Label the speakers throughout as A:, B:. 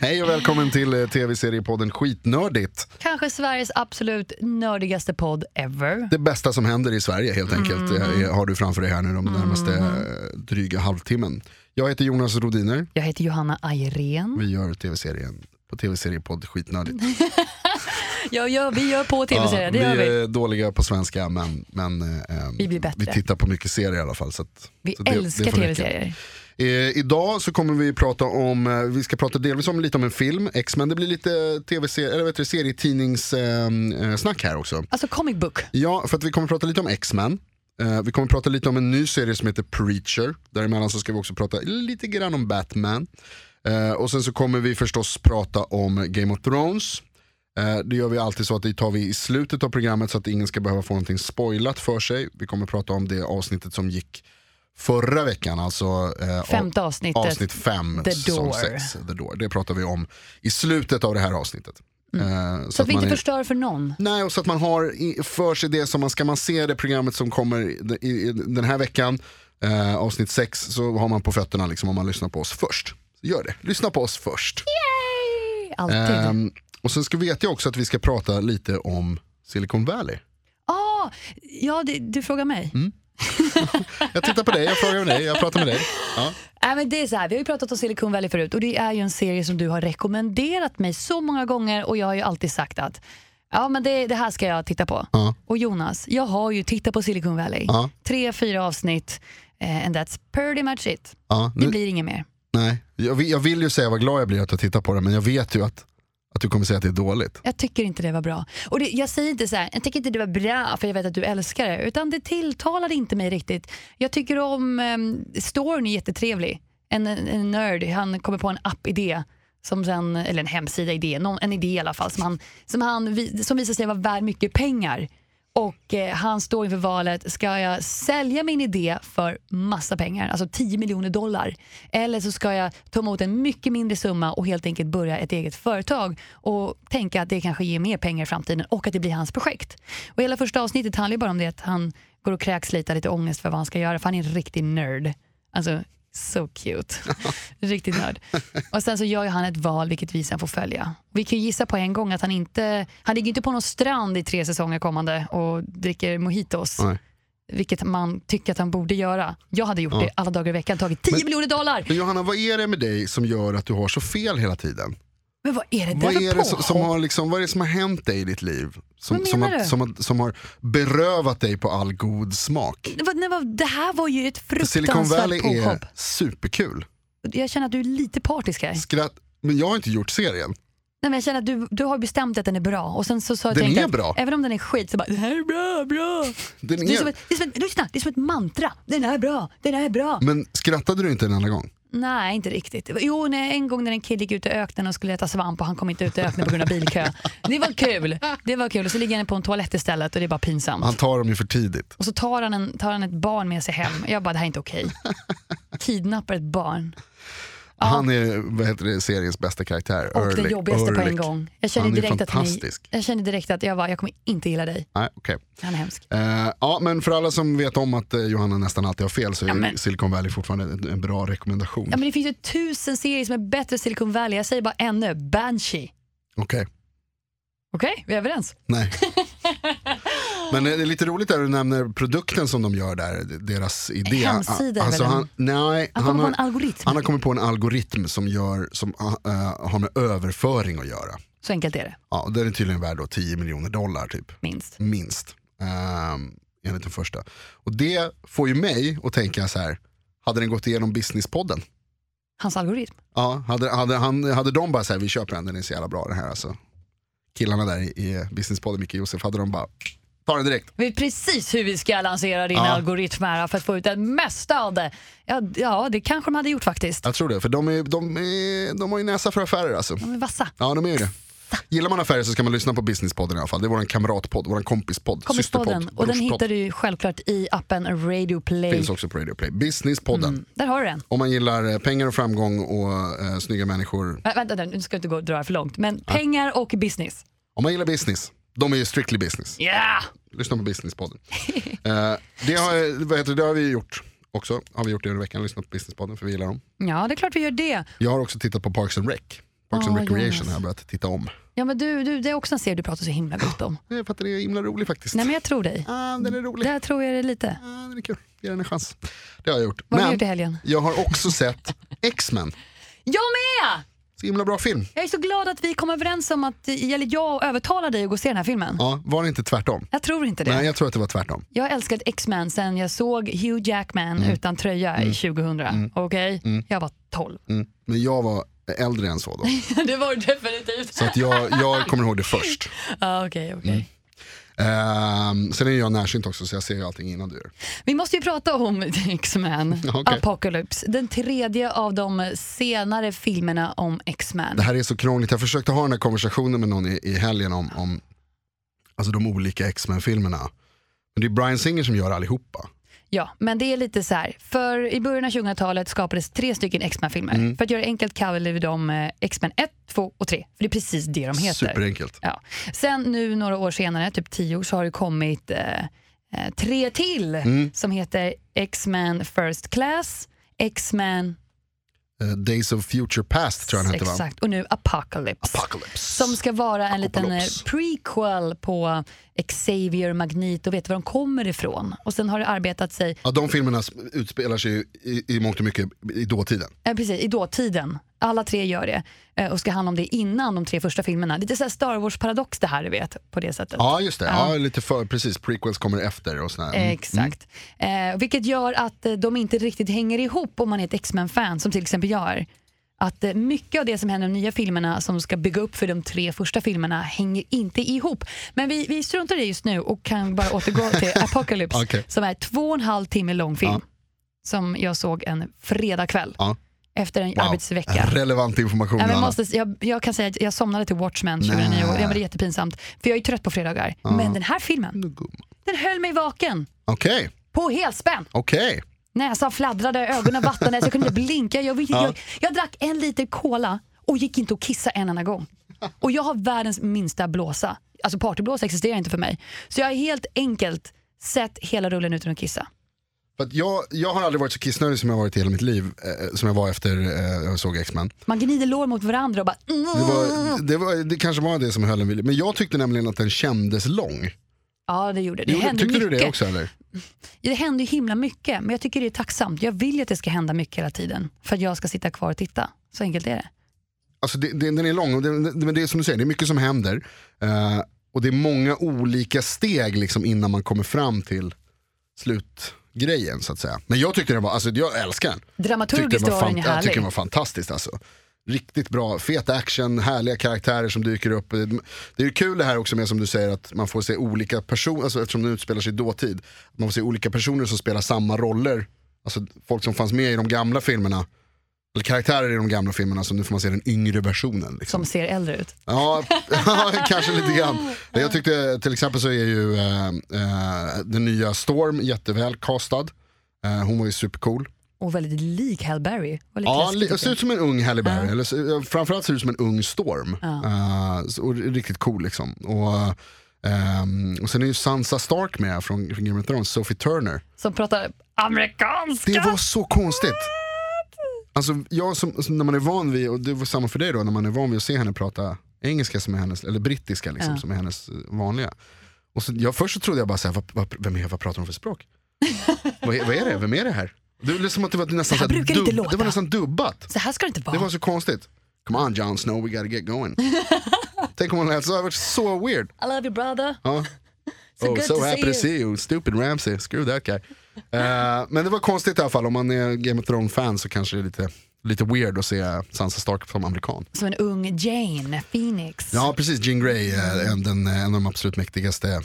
A: Hej och välkommen till eh, tv-seriepodden Skitnördigt.
B: Kanske Sveriges absolut nördigaste podd ever. Mm.
A: Det bästa som händer i Sverige helt enkelt eh, har du framför dig här nu de närmaste eh, dryga halvtimmen. Jag heter Jonas Rodiner.
B: Jag heter Johanna Ayrén.
A: Vi gör tv-serien på tv-seriepodd Skitnördigt.
B: Ja, ja, vi gör på tv-serier, det gör vi.
A: är dåliga på svenska men, men eh,
B: Vi blir bättre.
A: vi tittar på mycket serier i alla fall. Så att,
B: Vi
A: så det- det
B: älskar
A: får räcka.
B: tv-serier.
A: Eh, idag så kommer vi prata om, eh, vi ska prata delvis om lite om en film, X-Men, det blir lite tv-serie, eller vet du, serietidningssnack eh, här också.
B: Alltså comic book.
A: Ja, för att vi kommer prata lite om X-Men. Eh, vi kommer prata lite om en ny serie som heter Preacher. Däremellan så ska vi också prata lite grann om Batman. Eh, och sen så kommer vi förstås prata om Game of Thrones. Eh, det gör vi alltid så att det tar vi i slutet av programmet så att ingen ska behöva få någonting spoilat för sig. Vi kommer prata om det avsnittet som gick förra veckan, alltså eh,
B: Femte avsnittet.
A: avsnitt 5,
B: The
A: säsong
B: Door.
A: 6. The Door. Det pratar vi om i slutet av det här avsnittet. Eh,
B: Mm. Så att vi
A: man
B: inte
A: är-
B: förstör för någon.
A: Nej, och så att man har i- för sig det som man ska man se det programmet som kommer i- i- den här veckan, eh, avsnitt 6, så har man på fötterna liksom om man lyssnar på oss först. Så gör det, lyssna på oss först.
B: Alltid.
A: Ehm, och sen ska vet jag också att vi ska prata lite om Silicon Valley.
B: ah, ja, det, du frågar mig.
A: Mm. Jag tittar på dig, jag frågar dig, jag pratar med dig. Ja.
B: Nej, men det är så här, vi har ju pratat om Silicon Valley förut och det är ju en serie som du har rekommenderat mig så många gånger och jag har ju alltid sagt att ja, men det, det här ska jag titta på.
A: Ja.
B: Och Jonas, jag har ju tittat på Silicon Valley.
A: Ja.
B: Tre, fyra avsnitt eh, and that's pretty much it.
A: Ja,
B: Det
A: nu,
B: blir inget mer.
A: nej. Jag, vill, jag vill ju säga vad glad jag blir att jag tittar på det, men jag vet ju att, att du kommer säga att det är dåligt.
B: Jag tycker inte det var bra. Och det, jag säger inte så här, jag tycker inte det var bra för jag vet att du älskar det. Utan det tilltalade inte mig riktigt. Jag tycker om, um, storyn är jättetrevlig. En, en nörd, han kommer på en app-idé. Som sen, eller en hemsida-idé, någon, en idé i alla fall. Som, han, som, han, vi- som visar sig vara värd mycket pengar. Och eh, han står inför valet, ska jag sälja min idé för massa pengar, alltså 10 miljoner dollar? Eller så ska jag ta emot en mycket mindre summa och helt enkelt börja ett eget företag och tänka att det kanske ger mer pengar i framtiden och att det blir hans projekt. Och hela första avsnittet handlar ju bara om det att han går och kräks lite, har lite ångest för vad han ska göra för han är en riktig nörd. Alltså, so cute. Riktigt nörd. Och sen så gör ju han ett val vilket vi sen får följa. Vi kan ju gissa på en gång att han inte, han ligger inte på någon strand i tre säsonger kommande och dricker mojitos.
A: Nej.
B: Vilket man tycker att han borde göra. Jag hade gjort det alla dagar i veckan, tagit 10
A: Men-
B: miljoner dollar.
A: Men Johanna, vad är det med dig som gör att du har så fel hela tiden?
B: Men vad är det där
A: Vad
B: för
A: är, det som, som
B: påhopp?
A: har liksom, vad är det som har hänt dig i ditt liv? Som,
B: Vad
A: som,
B: menar
A: har,
B: du?
A: som, har, som har berövat dig på all god smak?
B: Det var- nej, vad- Det här var ju ett
A: För Silicon Valley
B: fruktansvärt påhopp.
A: är superkul.
B: Jag känner att du är lite partisk här.
A: Skratt, men jag har inte gjort serien.
B: Nej, men jag känner att du, du har bestämt att den är bra. Och sen så, så
A: Den
B: tänkte
A: är
B: jag,
A: bra.
B: Även om den är skit så bara, den här är bra, bra.
A: Den
B: Det är, som
A: är,
B: ett, det, är som ett, lyssna, det är som ett mantra. Den här är bra, den här är bra.
A: men skrattade du inte en enda gång?
B: Nej, inte riktigt. Jo, nej, en gång när en kille gick ut i öknen och skulle äta svamp och han kom inte ut i öknen på grund av bilkö. Det var kul. Det var kul. Och så ligger han på en toalett istället och det är bara pinsamt.
A: Han tar dem ju för tidigt.
B: Och så tar han, en, tar han ett barn med sig hem. Jag bara, det här är inte okej. Kidnappar ett barn.
A: Han är vad heter det, seriens bästa karaktär.
B: Och det
A: Ehrlich-
B: jobbigaste på en
A: Ehrlich.
B: gång. Jag kände,
A: Han är
B: direkt att ni,
A: fantastisk.
B: jag kände direkt att jag, bara, jag kommer inte gilla dig.
A: Nej, okej.
B: Han är hemsk.
A: Eh, ja, men för alla som vet om att eh, Johanna nästan alltid har fel så är
B: Ja, men-
A: Silicon Valley fortfarande en, en bra rekommendation.
B: Ja, men det finns ju tusen serier som är bättre än Silicon Valley. Jag säger bara ännu, Banshee.
A: Okej.
B: Okej, vi är överens.
A: Nej. Men det är lite roligt där du nämner produkten som de gör där, deras idé.
B: Hemsida är
A: alltså
B: väl
A: han, nej,
B: Han
A: han,
B: kommer på
A: har,
B: en algoritm.
A: han har kommit på en algoritm som, gör, som eh, har med överföring att göra.
B: Så enkelt är det,
A: Ja, och den är tydligen värd då 10 miljoner dollar typ,
B: minst.
A: minst. Um, enligt den första. Och det får ju mig att tänka så här, hade den gått igenom businesspodden?
B: Hans algoritm.
A: Ja, hade, hade, han, hade de bara så här, vi köper den, den är så jävla bra den här alltså. Killarna där i, i businesspodden, Micke och Josef, hade de bara, ta den direkt.
B: vet precis hur vi ska lansera din
A: Ja.
B: algoritm här för att få ut det mesta av det. Ja, ja, det kanske de hade gjort faktiskt.
A: Jag tror det, för de, är, de, är, de har ju näsa för affärer alltså.
B: De är vassa.
A: Ja, de är ju det. Gillar man affärer så ska man lyssna på Businesspodden i alla fall. Det är vår kamratpodd, vår kompispodd,
B: Kompispodden.
A: systerpodd,
B: Och den
A: brorspodd.
B: hittar du ju självklart i appen Radio Play.
A: Finns också på Radio Play. Businesspodden.
B: Där har du den.
A: Om man gillar eh, pengar och framgång och eh, snygga människor.
B: Äh, vänta, nu ska jag inte gå och dra det för långt. Men pengar och business.
A: Om man gillar business, de är ju strictly business.
B: Ja!
A: Lyssna på Businesspodden. eh, det, har, vad heter det, det har vi gjort också. Har vi gjort det under veckan, lyssnat på Businesspodden för vi gillar dem.
B: Ja, det är klart vi gör det.
A: Jag har också tittat på Parks and Rec. Parks
B: Ja,
A: and Recreation
B: Jonas.
A: har jag börjat titta om.
B: Ja, men du, du, det är också en serie du pratar så himla gott om.
A: Nej, för att den är himla rolig faktiskt.
B: Nej, men jag tror dig.
A: Ah, den är rolig.
B: Där tror jag det lite.
A: Ah, den är kul. Ge den en chans. Det har jag gjort.
B: Vad har du
A: men
B: gjort i helgen?
A: jag har också sett X-Men.
B: Jag med!
A: Så himla bra film.
B: Jag är så glad att vi kom överens om att eller jag övertalar dig att gå och se den här filmen.
A: Ja, var det inte tvärtom?
B: Jag tror inte det.
A: Nej, jag tror att det var tvärtom.
B: Jag har älskat X-Men sen jag såg Hugh Jackman
A: Mm.
B: utan tröja i 2000. Okej? Jag var 12.
A: Mm. Men jag var äldre än så då.
B: det var du definitivt.
A: Så Mm. att jag, jag kommer ihåg det först.
B: Ja, okej, okej.
A: Ehm, sen är jag närsynt också så jag ser ju allting innan du gör.
B: Vi måste ju prata om X-Men
A: Okej.
B: Apocalypse. Den tredje av de senare filmerna om X-Men.
A: Det här är så krångligt. Jag försökte ha den här konversationen med någon i, i helgen om, om alltså de olika X-Men-filmerna. Men det är Bryan Singer som gör allihopa.
B: Ja, men det är lite så här. För I början av 2000-talet skapades tre stycken X-Men-filmer.
A: Mm.
B: För att göra det enkelt kallade vi dem eh, X-Men 1, 2 och 3. För det är precis det de heter.
A: Superenkelt.
B: Ja. Sen nu några år senare, typ tio år, så har det kommit eh, eh, tre till
A: Mm.
B: som heter X-Men First Class, X-Men,
A: Eh, Days of Future Past tror jag den hette va?
B: exakt, och nu Apocalypse.
A: Apocalypse.
B: som ska vara en liten eh,
A: Apocalypse.
B: prequel på Xavier, Magneto, vet var de kommer ifrån. Och sen har det arbetat sig
A: Ja, de filmerna sp- utspelar sig ju i, i mångt och mycket i dåtiden.
B: Eh, precis, i dåtiden. Alla tre gör det eh, och ska handla om det innan de tre första filmerna. Lite så här Star Wars-paradox det här, du vet, på det sättet.
A: Ja just det, ja.
B: Ja.
A: lite för, precis. Prequels kommer efter och sådär.
B: Eh,
A: Mm.
B: Exakt. Eh, vilket gör att eh, de inte riktigt hänger ihop om man är ett X-Men-fan, som till exempel jag är. Att eh, mycket av det som händer i de nya filmerna som ska bygga upp för de tre första filmerna hänger inte ihop. Men vi, vi struntar i det just nu och kan bara återgå till Apocalypse
A: Okej.
B: som är två och en halv timme lång film
A: Ja.
B: som jag såg en fredagkväll
A: Ja.
B: efter en
A: Wow.
B: arbetsvecka.
A: Relevant information.
B: Ja, men jag
A: Anna.
B: måste, jag, jag kan säga att jag somnade till Watchmen 2009 och det var jättepinsamt. För jag är trött på fredagar. Men den här filmen, den höll mig vaken.
A: Okej,
B: På helspänn.
A: okej.
B: Näsan fladdrade, ögonen vattnades, jag kunde inte blinka. Jag, jag, jag, jag drack en liter cola och gick inte och kissa en enda gång. Och jag har världens minsta blåsa. Alltså partyblåsa existerar inte för mig. Så jag har helt enkelt sett hela rullen utan att kissa.
A: För att jag, jag har aldrig varit så kissnödig som jag varit i hela mitt liv, eh, som jag var efter eh, jag såg X-Men.
B: Man gnider lår mot varandra och bara...
A: Det,
B: Ah.
A: var, det, var, det kanske var det som höll en vid liv. Men jag tyckte nämligen att den kändes lång.
B: Ja, det gjorde det. Det
A: Gjorde-
B: hände
A: tyckte
B: mycket.
A: du det också eller?
B: Det händer ju himla mycket, men jag tycker det är tacksamt. Jag vill ju att det ska hända mycket hela tiden för att jag ska sitta kvar och titta. Så enkelt är det.
A: Alltså det, det, den är lång, och det, det, men det är som du säger, det är mycket som händer. Eh, och det är många olika steg liksom innan man kommer fram till slutgrejen så att säga. Men jag tyckte den var, alltså jag älskar den.
B: Dramaturgiskt
A: den
B: var den
A: fan-
B: ju
A: jag tyckte
B: härlig.
A: den var fantastisk alltså. Riktigt bra, fet action, härliga karaktärer som dyker upp. Det är ju kul det här också med som du säger att man får se olika personer, alltså eftersom den utspelar sig i dåtid. att Man får se olika personer som spelar samma roller. Alltså folk som fanns med i de gamla filmerna. Eller karaktärer i de gamla filmerna, så nu får man se den yngre versionen. Liksom.
B: Som ser äldre ut.
A: Ja, kanske lite grann. Jag tyckte till exempel så är ju eh, eh, den nya Storm jätteväl castad. Eh, hon var ju supercool.
B: Och väldigt lik Halle Berry. Var lite
A: Ja,
B: läskigt,
A: li-
B: tycker
A: ser
B: jag.
A: ut som en ung Halle Berry, eller så- eh, framförallt ser ut som en ung Storm. Eh, så- och riktigt cool liksom. Och, ehm, och sen är ju Sansa Stark med från, från Game of Thrones, Sophie Turner.
B: Som pratar amerikanska.
A: Det var så konstigt. Alltså jag som, som när man är van vid, och det var samma för dig då, när man är van vid att se henne prata engelska som är hennes, eller brittiska liksom, som är hennes eh, vanliga. Och så, jag, först så trodde jag bara såhär, vad, vad, vem är, vad pratar hon för språk? vad, är- vad är det, vem är det här? Det var som att det var nästan,
B: här
A: så här
B: brukar inte
A: dubb, det var
B: låta.
A: nästan dubbat.
B: Så här ska det inte vara.
A: Det var så konstigt. Come on Jon Snow, we gotta get going. Tänk om hon lät så, det hade varit så weird.
B: I love you brother.
A: Ja.
B: So
A: oh,
B: good
A: so
B: to
A: happy
B: see
A: to
B: you.
A: see you, stupid Ramsey, screw that guy. Eh, men det var konstigt i alla fall, om man är Game of Thrones-fan så kanske det är lite, lite weird att se Sansa Stark som amerikan.
B: Som en ung Jane Phoenix.
A: Ja precis, Jean Grey är en, den, eh, en av de absolut mäktigaste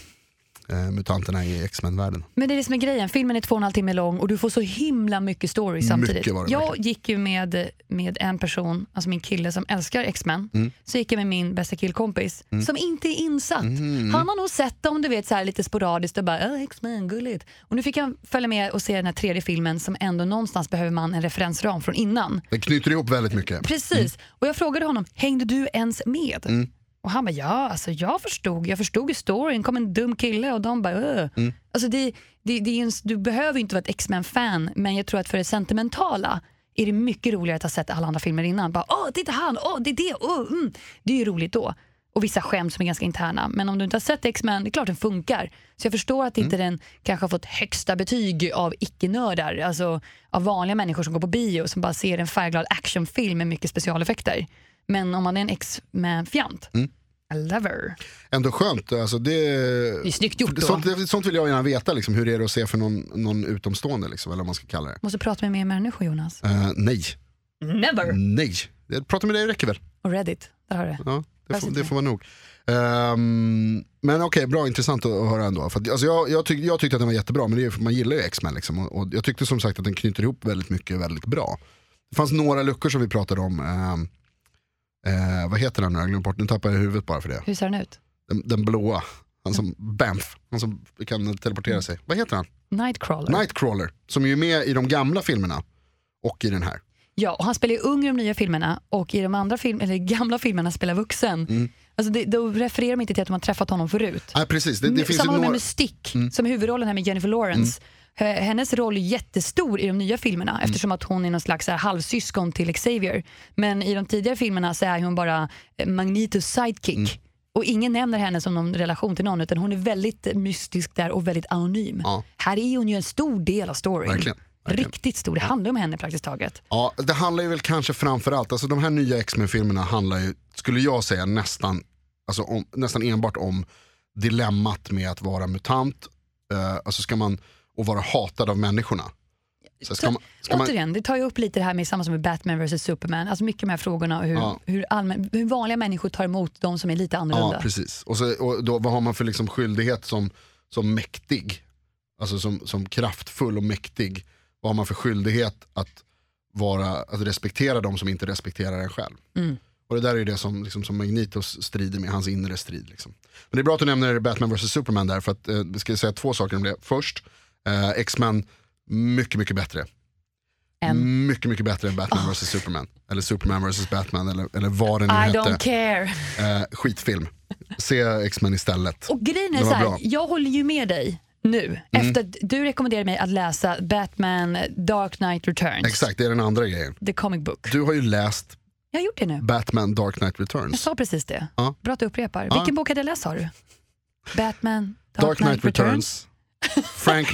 A: eh, mutanterna i X-Men-världen.
B: Men det är det som är grejen, filmen är två och en halv timme lång och du får så himla mycket story samtidigt.
A: Mycket var det
B: jag
A: verkligen.
B: gick ju med, med en person, alltså min kille som älskar X-Men,
A: Mm.
B: så gick jag med min bästa killkompis som inte är insatt.
A: Mm.
B: Han har nog sett dem du vet, så här lite sporadiskt och bara "Åh, X-Men, gulligt. Och nu fick jag följa med och se den här tredje filmen som ändå någonstans behöver man en referensram från innan.
A: Den knyter ihop väldigt mycket.
B: Precis, och jag frågade honom, hängde du ens med? Och han bara, ja alltså jag förstod, jag förstod ju storyn, kom en dum kille och de bara öh. Alltså det, det, det är en, du behöver ju inte vara ett X-Men-fan, men jag tror att för det sentimentala är det mycket roligare att ha sett alla andra filmer innan. Bara, åh, titta han, åh, det är det, åh, mm. Det är ju roligt då. Och vissa skämt som är ganska interna. Men om du inte har sett X-Men, det är klart den funkar. Så jag förstår att inte den kanske har fått högsta betyg av icke-nördar. Alltså av vanliga människor som går på bio och som bara ser en färgglad actionfilm med mycket specialeffekter. Men om man är en X-Men-fjant, I love her.
A: Ändå skönt, alltså det,
B: Det är snyggt gjort då.
A: sånt, det- sånt vill jag gärna veta, liksom, hur är det att se för någon, någon utomstående, liksom, eller vad man ska kalla det.
B: Måste prata med mer människor Jonas.
A: Eh, nej,
B: Never!
A: nej. Jag pratar med dig räcker väl?
B: Och Reddit, där har du det.
A: Ja, det,
B: Jag
A: får,
B: sitter
A: det får vara nog. Ehm, men okej, bra, intressant att, att höra ändå. För att, alltså, jag, jag, tyck, jag tyckte att den var jättebra, men det är, ju för man gillar ju X-Men. Liksom, och, och jag tyckte som sagt att den knyter ihop väldigt mycket väldigt bra. Det fanns några luckor som vi pratade om. ehm, eh, vad heter den nu? Jag glömde bort, nu tappar jag huvudet bara för det.
B: Hur ser den ut?
A: Den, den blåa. Han som Banff, han som kan teleportera sig. Vad heter han?
B: Nightcrawler.
A: Nightcrawler, som ju är med i de gamla filmerna och i den här.
B: Ja, och han spelar ju ung i de nya filmerna och i de andra film, eller gamla filmerna spelar vuxen. Alltså det, då refererar man inte till att de har träffat honom förut.
A: Nej precis, det, det finns ju
B: Mm, Samma
A: några... Mm.
B: med Mystique, som är huvudrollen här med Jennifer Lawrence. H- Hennes roll är jättestor i de nya filmerna
A: Mm.
B: eftersom att hon är någon slags så här, halvsyskon till Xavier. Men i de tidigare filmerna så är hon bara eh, Magnetos sidekick.
A: Mm.
B: Och ingen nämner henne som någon relation till någon utan hon är väldigt eh, mystisk där och väldigt anonym.
A: Ja.
B: Här är hon ju en stor del av storyn.
A: Verkligen, verkligen.
B: Riktigt stor, det handlar om henne praktiskt taget.
A: Ja, det handlar ju väl kanske framförallt, alltså de här nya X-Men-filmerna handlar ju, skulle jag säga, nästan, alltså om, nästan enbart om dilemmat med att vara mutant, eh, alltså ska man, och vara hatad av människorna. Så ska man, ska man,
B: Återigen, det tar ju upp lite det här med samma som med Batman vs Superman. Alltså mycket de här frågorna och hur,
A: Ja.
B: hur, allmän, hur vanliga människor tar emot de som är lite
A: ja,
B: annorlunda.
A: precis. Och, så, och då, vad har man för liksom skyldighet som, som mäktig? Alltså som, som kraftfull och mäktig. Vad har man för skyldighet att, vara, att respektera de som inte respekterar en själv?
B: Mm.
A: Och det där är ju det som, liksom, som Magnitos strider med, hans inre strid. Liksom. Men det är bra att du nämner Batman vs Superman där, för att eh, vi ska säga två saker om det. Först, eh, X-Men, mycket, mycket bättre.
B: En- Ah.
A: Mycket, mycket bättre än Batman vs Superman. Eller Superman vs Batman, eller, eller vad den nu
B: I don't
A: hette.
B: care.
A: Eh, skitfilm. Se X-Men istället.
B: Och grejen är
A: Det var
B: så här,
A: bra. Mm.
B: jag håller ju med dig nu. Efter att du rekommenderade mig att läsa Batman Dark Knight Returns.
A: Exakt, det är den andra grejen.
B: The comic book.
A: Du har ju läst
B: Jag har gjort det nu.
A: Batman Dark Knight
B: Jag
A: Returns.
B: sa precis det.
A: Ja.
B: Bra att du upprepar.
A: Ja.
B: Vilken bok hade jag läst sa du? Batman Dark, Oh,
A: Dark Knight Returns. Frank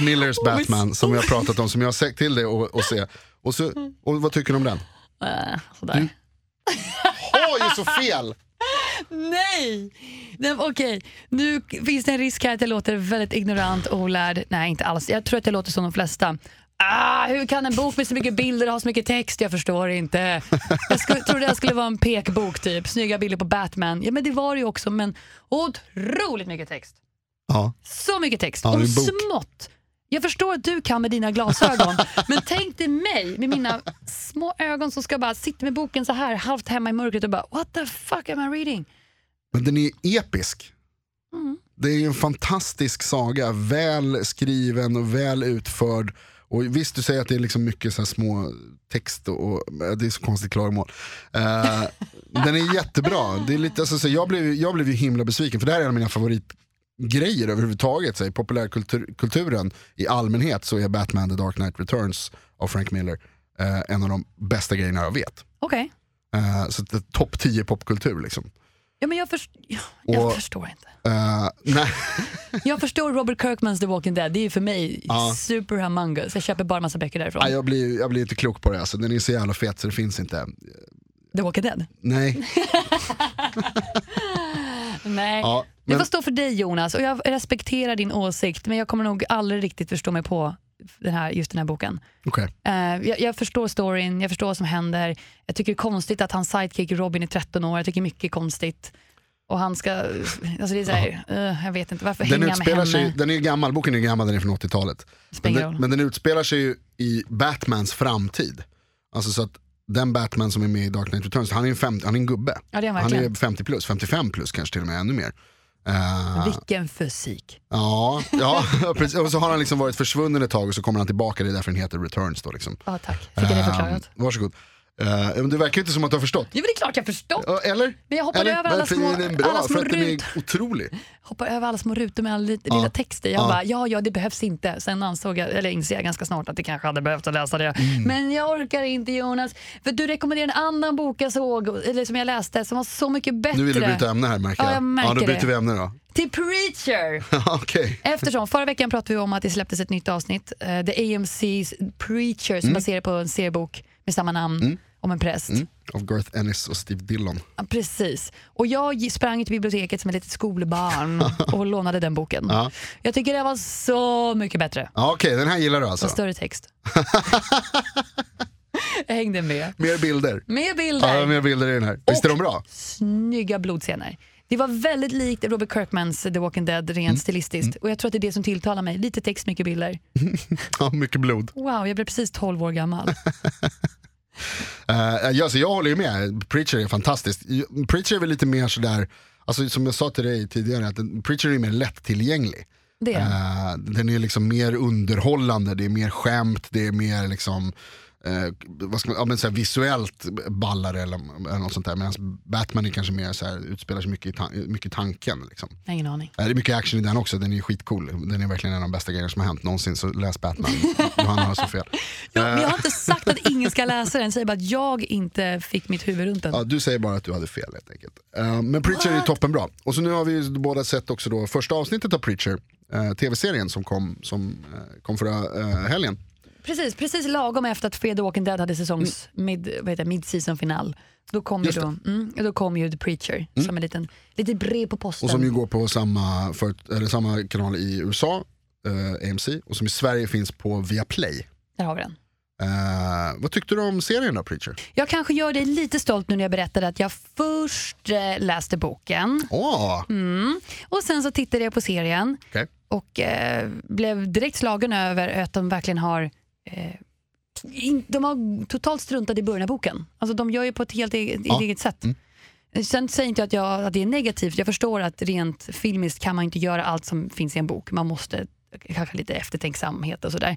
A: Millers Batman som vi har pratat om, som jag har sett till dig och, och se. Och, så, och vad tycker du om den?
B: Eh, sådär.
A: Mm. har ju så fel.
B: Nej! Nej men Okej, nu finns det en risk här att jag låter väldigt ignorant och olärd. Nej, inte alls. Jag tror att jag låter som de flesta. Ah, hur kan en bok med så mycket bilder ha så mycket text? Jag förstår inte. Jag sku, trodde det skulle vara en pekbok, typ. Snygga bilder på Batman. Ja, men det var det ju också, men otroligt mycket text.
A: Ja.
B: Så mycket text.
A: Ja, det är
B: och
A: en bok.
B: smått. Jag förstår att du kan med dina glasögon, men tänk dig mig med mina små ögon som ska bara sitta med boken så här halvt hemma i mörkret och bara what the fuck am I reading?
A: Men den är ju episk. Det är ju en fantastisk saga, väl skriven och väl utförd. Och visst, du säger att det är liksom mycket så här små text och, och det är så konstigt klagomål. Eh, den är jättebra. Det är lite, alltså, så jag, blev, ju- jag blev ju himla besviken för det här är en av mina favoritgrejer överhuvudtaget. Så, här, I populärkulturen i allmänhet så är Batman The Dark Knight Returns av Frank Miller eh, en av de bästa grejerna jag vet.
B: Okej.
A: Eh, så det är topp 10 popkultur liksom.
B: Ja, men jag, först- ja, jag
A: Och-
B: förstår inte.
A: Eh, nej.
B: Jag förstår Robert Kirkmans The Walking Dead. Det är ju för mig super humongous. Jag köper bara massa böcker därifrån.
A: Ja, jag, blir, jag blir inte klok på det, alltså. den är så jävla fet så det finns inte.
B: The Walking Dead?
A: Nej,
B: Nej.
A: ja,
B: Det
A: men,
B: får stå för dig Jonas och jag respekterar din åsikt men jag kommer nog aldrig riktigt förstå mig på den här, just den här boken.
A: okej.
B: Eh, jag, jag förstår storyn, jag förstår vad som händer. Jag tycker det är konstigt att hans sidekick Robin är 13 år. Jag tycker mycket är konstigt. Och han ska... Alltså det är så här, eh, jag vet inte varför
A: den
B: hänger han med
A: utspelar
B: henne?
A: sig, den är ju gammal, boken är ju gammal, den är från 80-talet. Men
B: Spelar
A: den,
B: roll.
A: men den utspelar sig ju i Batmans framtid. Alltså så att den Batman som är med i Dark Knight Returns, han är en, fem, han är en gubbe.
B: Ja, det är han
A: han
B: verkligen.
A: är 50 plus, 55 plus kanske till och med ännu mer. Eh,
B: Vilken fysik.
A: ja, ja, precis. Och så har han liksom varit försvunnen ett tag och så kommer han tillbaka, det är därför den heter Returns. Då, liksom.
B: Ja, tack. Fick jag det förklarat?
A: Eh, varsågod. Eh, men det verkar inte som att du har förstått.
B: Ja, men det är klart jag förstår.
A: Ja, Eller?
B: Men jag hoppar
A: Eller?
B: över alla
A: Varför
B: små,
A: är den bra?
B: alla små
A: För att den
B: rutor.
A: är otrolig.
B: Hoppar över alla små rutor med all li-
A: Ja.
B: lilla text i. Jag
A: Ja.
B: bara, ja, ja, det behövs inte. Sen ansåg jag, eller insåg jag ganska snart att det kanske hade behövt att läsa det.
A: Mm.
B: Men jag orkar inte Jonas. För du rekommenderade en annan bok jag såg, eller som jag läste, som var så mycket bättre.
A: Nu vill du byta ämne här märker
B: Ja,
A: jag.
B: jag märker
A: ja, då byter
B: det.
A: vi ämne då.
B: Till Preacher!
A: Okej.
B: Eftersom förra veckan pratade vi om att det släpptes ett nytt avsnitt, eh, The AMC's Preacher,
A: Mm.
B: som baserar på en seriebok med samma namn om en präst.
A: Av Garth Ennis och Steve Dillon.
B: Ja, Precis. Och jag gi- sprang till biblioteket som ett litet skolbarn och lånade den boken.
A: Ja.
B: Jag tycker det var så mycket bättre.
A: Ja, Okej, den här gillar du alltså?
B: Och större text. jag hängde med.
A: Mer bilder.
B: Med bilder.
A: Ja, mer bilder i den här. Visst är de bra?
B: Snygga blodscener. Det var väldigt likt Robert Kirkmans The Walking Dead rent
A: Mm.
B: stilistiskt. Och jag tror att det är det som tilltalar mig. Lite text, mycket bilder.
A: Ja, mycket blod.
B: Wow, jag blev precis 12 år gammal.
A: Eh, ja, så jag håller ju med, Preacher är fantastiskt. Preacher är väl lite mer sådär, alltså, som jag sa till dig tidigare, att den- Preacher är mer lättillgänglig.
B: Det.
A: Eh, den är liksom mer underhållande, det är mer skämt, det är mer liksom eh, vad ska man, ja, men så här visuellt ballare eller, eller något sånt där. Medan Batman är kanske mer så här, utspelar sig mycket i, tan- mycket i tanken. Liksom.
B: Jag har Ingen aning.
A: Eh, Det är mycket action i den också, den är skitcool. Den är verkligen en av de bästa grejerna som har hänt någonsin, så läs Batman. Johanna har så fel.
B: Jag, men jag har inte sagt att ingen ska läsa den, säger bara att jag inte fick mitt huvud runt den.
A: Ja, du säger bara att du hade fel helt enkelt. Eh, men Preacher är toppenbra. Och så nu har vi ju båda sett också då första avsnittet av Preacher, eh, tv-serien som kom, som, eh, kom förra eh, helgen.
B: Precis, precis lagom efter att Fear the Walking Dead hade säsongs
A: Mm.
B: mid, vad heter, det, mid-season final. Då kom, ju då, mm, och då kom ju The Preacher som en liten, lite brev på posten.
A: Mm. Och som ju går på samma, för, eller samma kanal i USA, eh, AMC, och som i Sverige finns på Viaplay.
B: Där har vi den.
A: Eh, vad tyckte du om serien då Preacher?
B: Jag kanske gör dig lite stolt nu när jag berättade att jag först eh, läste boken
A: Åh,
B: Mm. och sen så tittade jag på serien
A: okej.
B: och eh, blev direkt slagen över att de verkligen har eh, in, de har totalt struntat i början av boken. Alltså de gör ju på ett helt eget,
A: Ja.
B: eget sätt. Sen säger inte jag att, jag att det är negativt. Jag förstår att rent filmiskt kan man inte göra allt som finns i en bok. Man måste kanske lite eftertänksamhet och sådär.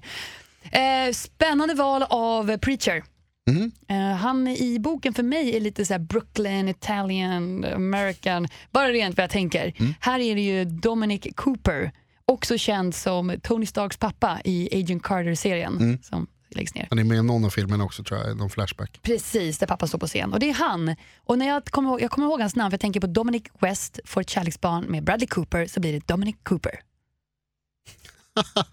B: Eh, spännande val av Preacher.
A: Mhm.
B: Eh, han i boken för mig är lite så här Brooklyn, Italian, American. Bara rent vad jag tänker. Här är det ju Dominic Cooper, också känd som Tony Starks pappa i Agent Carter-serien som läggs ner.
A: Han är med i någon av filmerna också tror jag, någon flashback.
B: Precis, där pappa står på scen. Och det är han. Och när jag kommer ihåg, jag kommer ihåg hans namn för jag tänker på Dominic West får ett kärleksbarn med Bradley Cooper så blir det Dominic Cooper.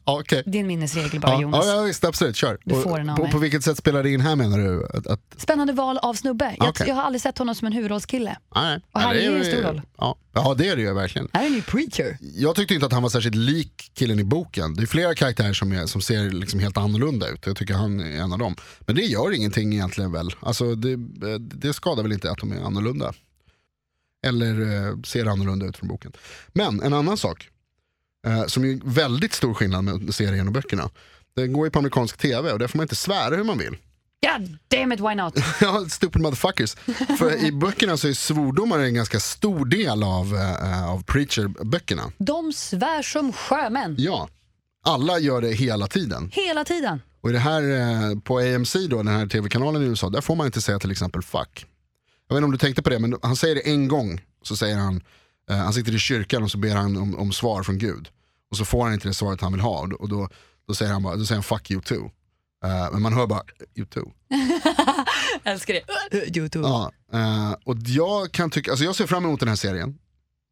A: Ja, okej.
B: Det är en minnesregel bara
A: Ja,
B: Jonas.
A: ja, visst, absolut, kör.
B: Du
A: Och
B: får den av
A: på,
B: mig.
A: på vilket sätt spelar det in här menar du? Att, att
B: Spännande val av snubbe. Jag,
A: Okej.
B: jag har aldrig sett honom som en huvudrollskille.
A: Nej,
B: Och här
A: nej,
B: är det en stor roll.
A: Ja, ja, det är det ju verkligen.
B: Här är en ny preacher.
A: Jag tyckte inte att han var särskilt lik killen i boken. Det är flera karaktärer som, är, som ser liksom helt annorlunda ut. Jag tycker han är en av dem. Men det gör ingenting egentligen väl. Alltså, det, eh, det skadar väl inte att de är annorlunda. Eller eh, ser annorlunda ut från boken. Men en annan sak, eh, som är väldigt stor skillnad med serien och böckerna. Den går ju på amerikansk tv och där får man inte svära hur man vill.
B: God damn it, why not?
A: Ja, stupid motherfuckers. För i böckerna så är svordomar en ganska stor del av, eh, av preacher-böckerna.
B: De svär som sjömän.
A: Ja, alla gör det hela tiden.
B: Hela tiden.
A: Och i det här eh, på AMC, då, den här tv-kanalen i USA, där får man inte säga till exempel fuck. Jag vet inte om du tänkte på det, men han säger det en gång. Så säger han, eh, han sitter i kyrkan och så ber han om, om svar från Gud. Och så får han inte det svaret han vill ha och då, och då, då, säger, han bara, då säger han fuck you too. Eh, men man hör bara you too.
B: Älskar det. Youtube.
A: Ja, eh, och jag kan tycka, alltså jag ser fram emot den här serien.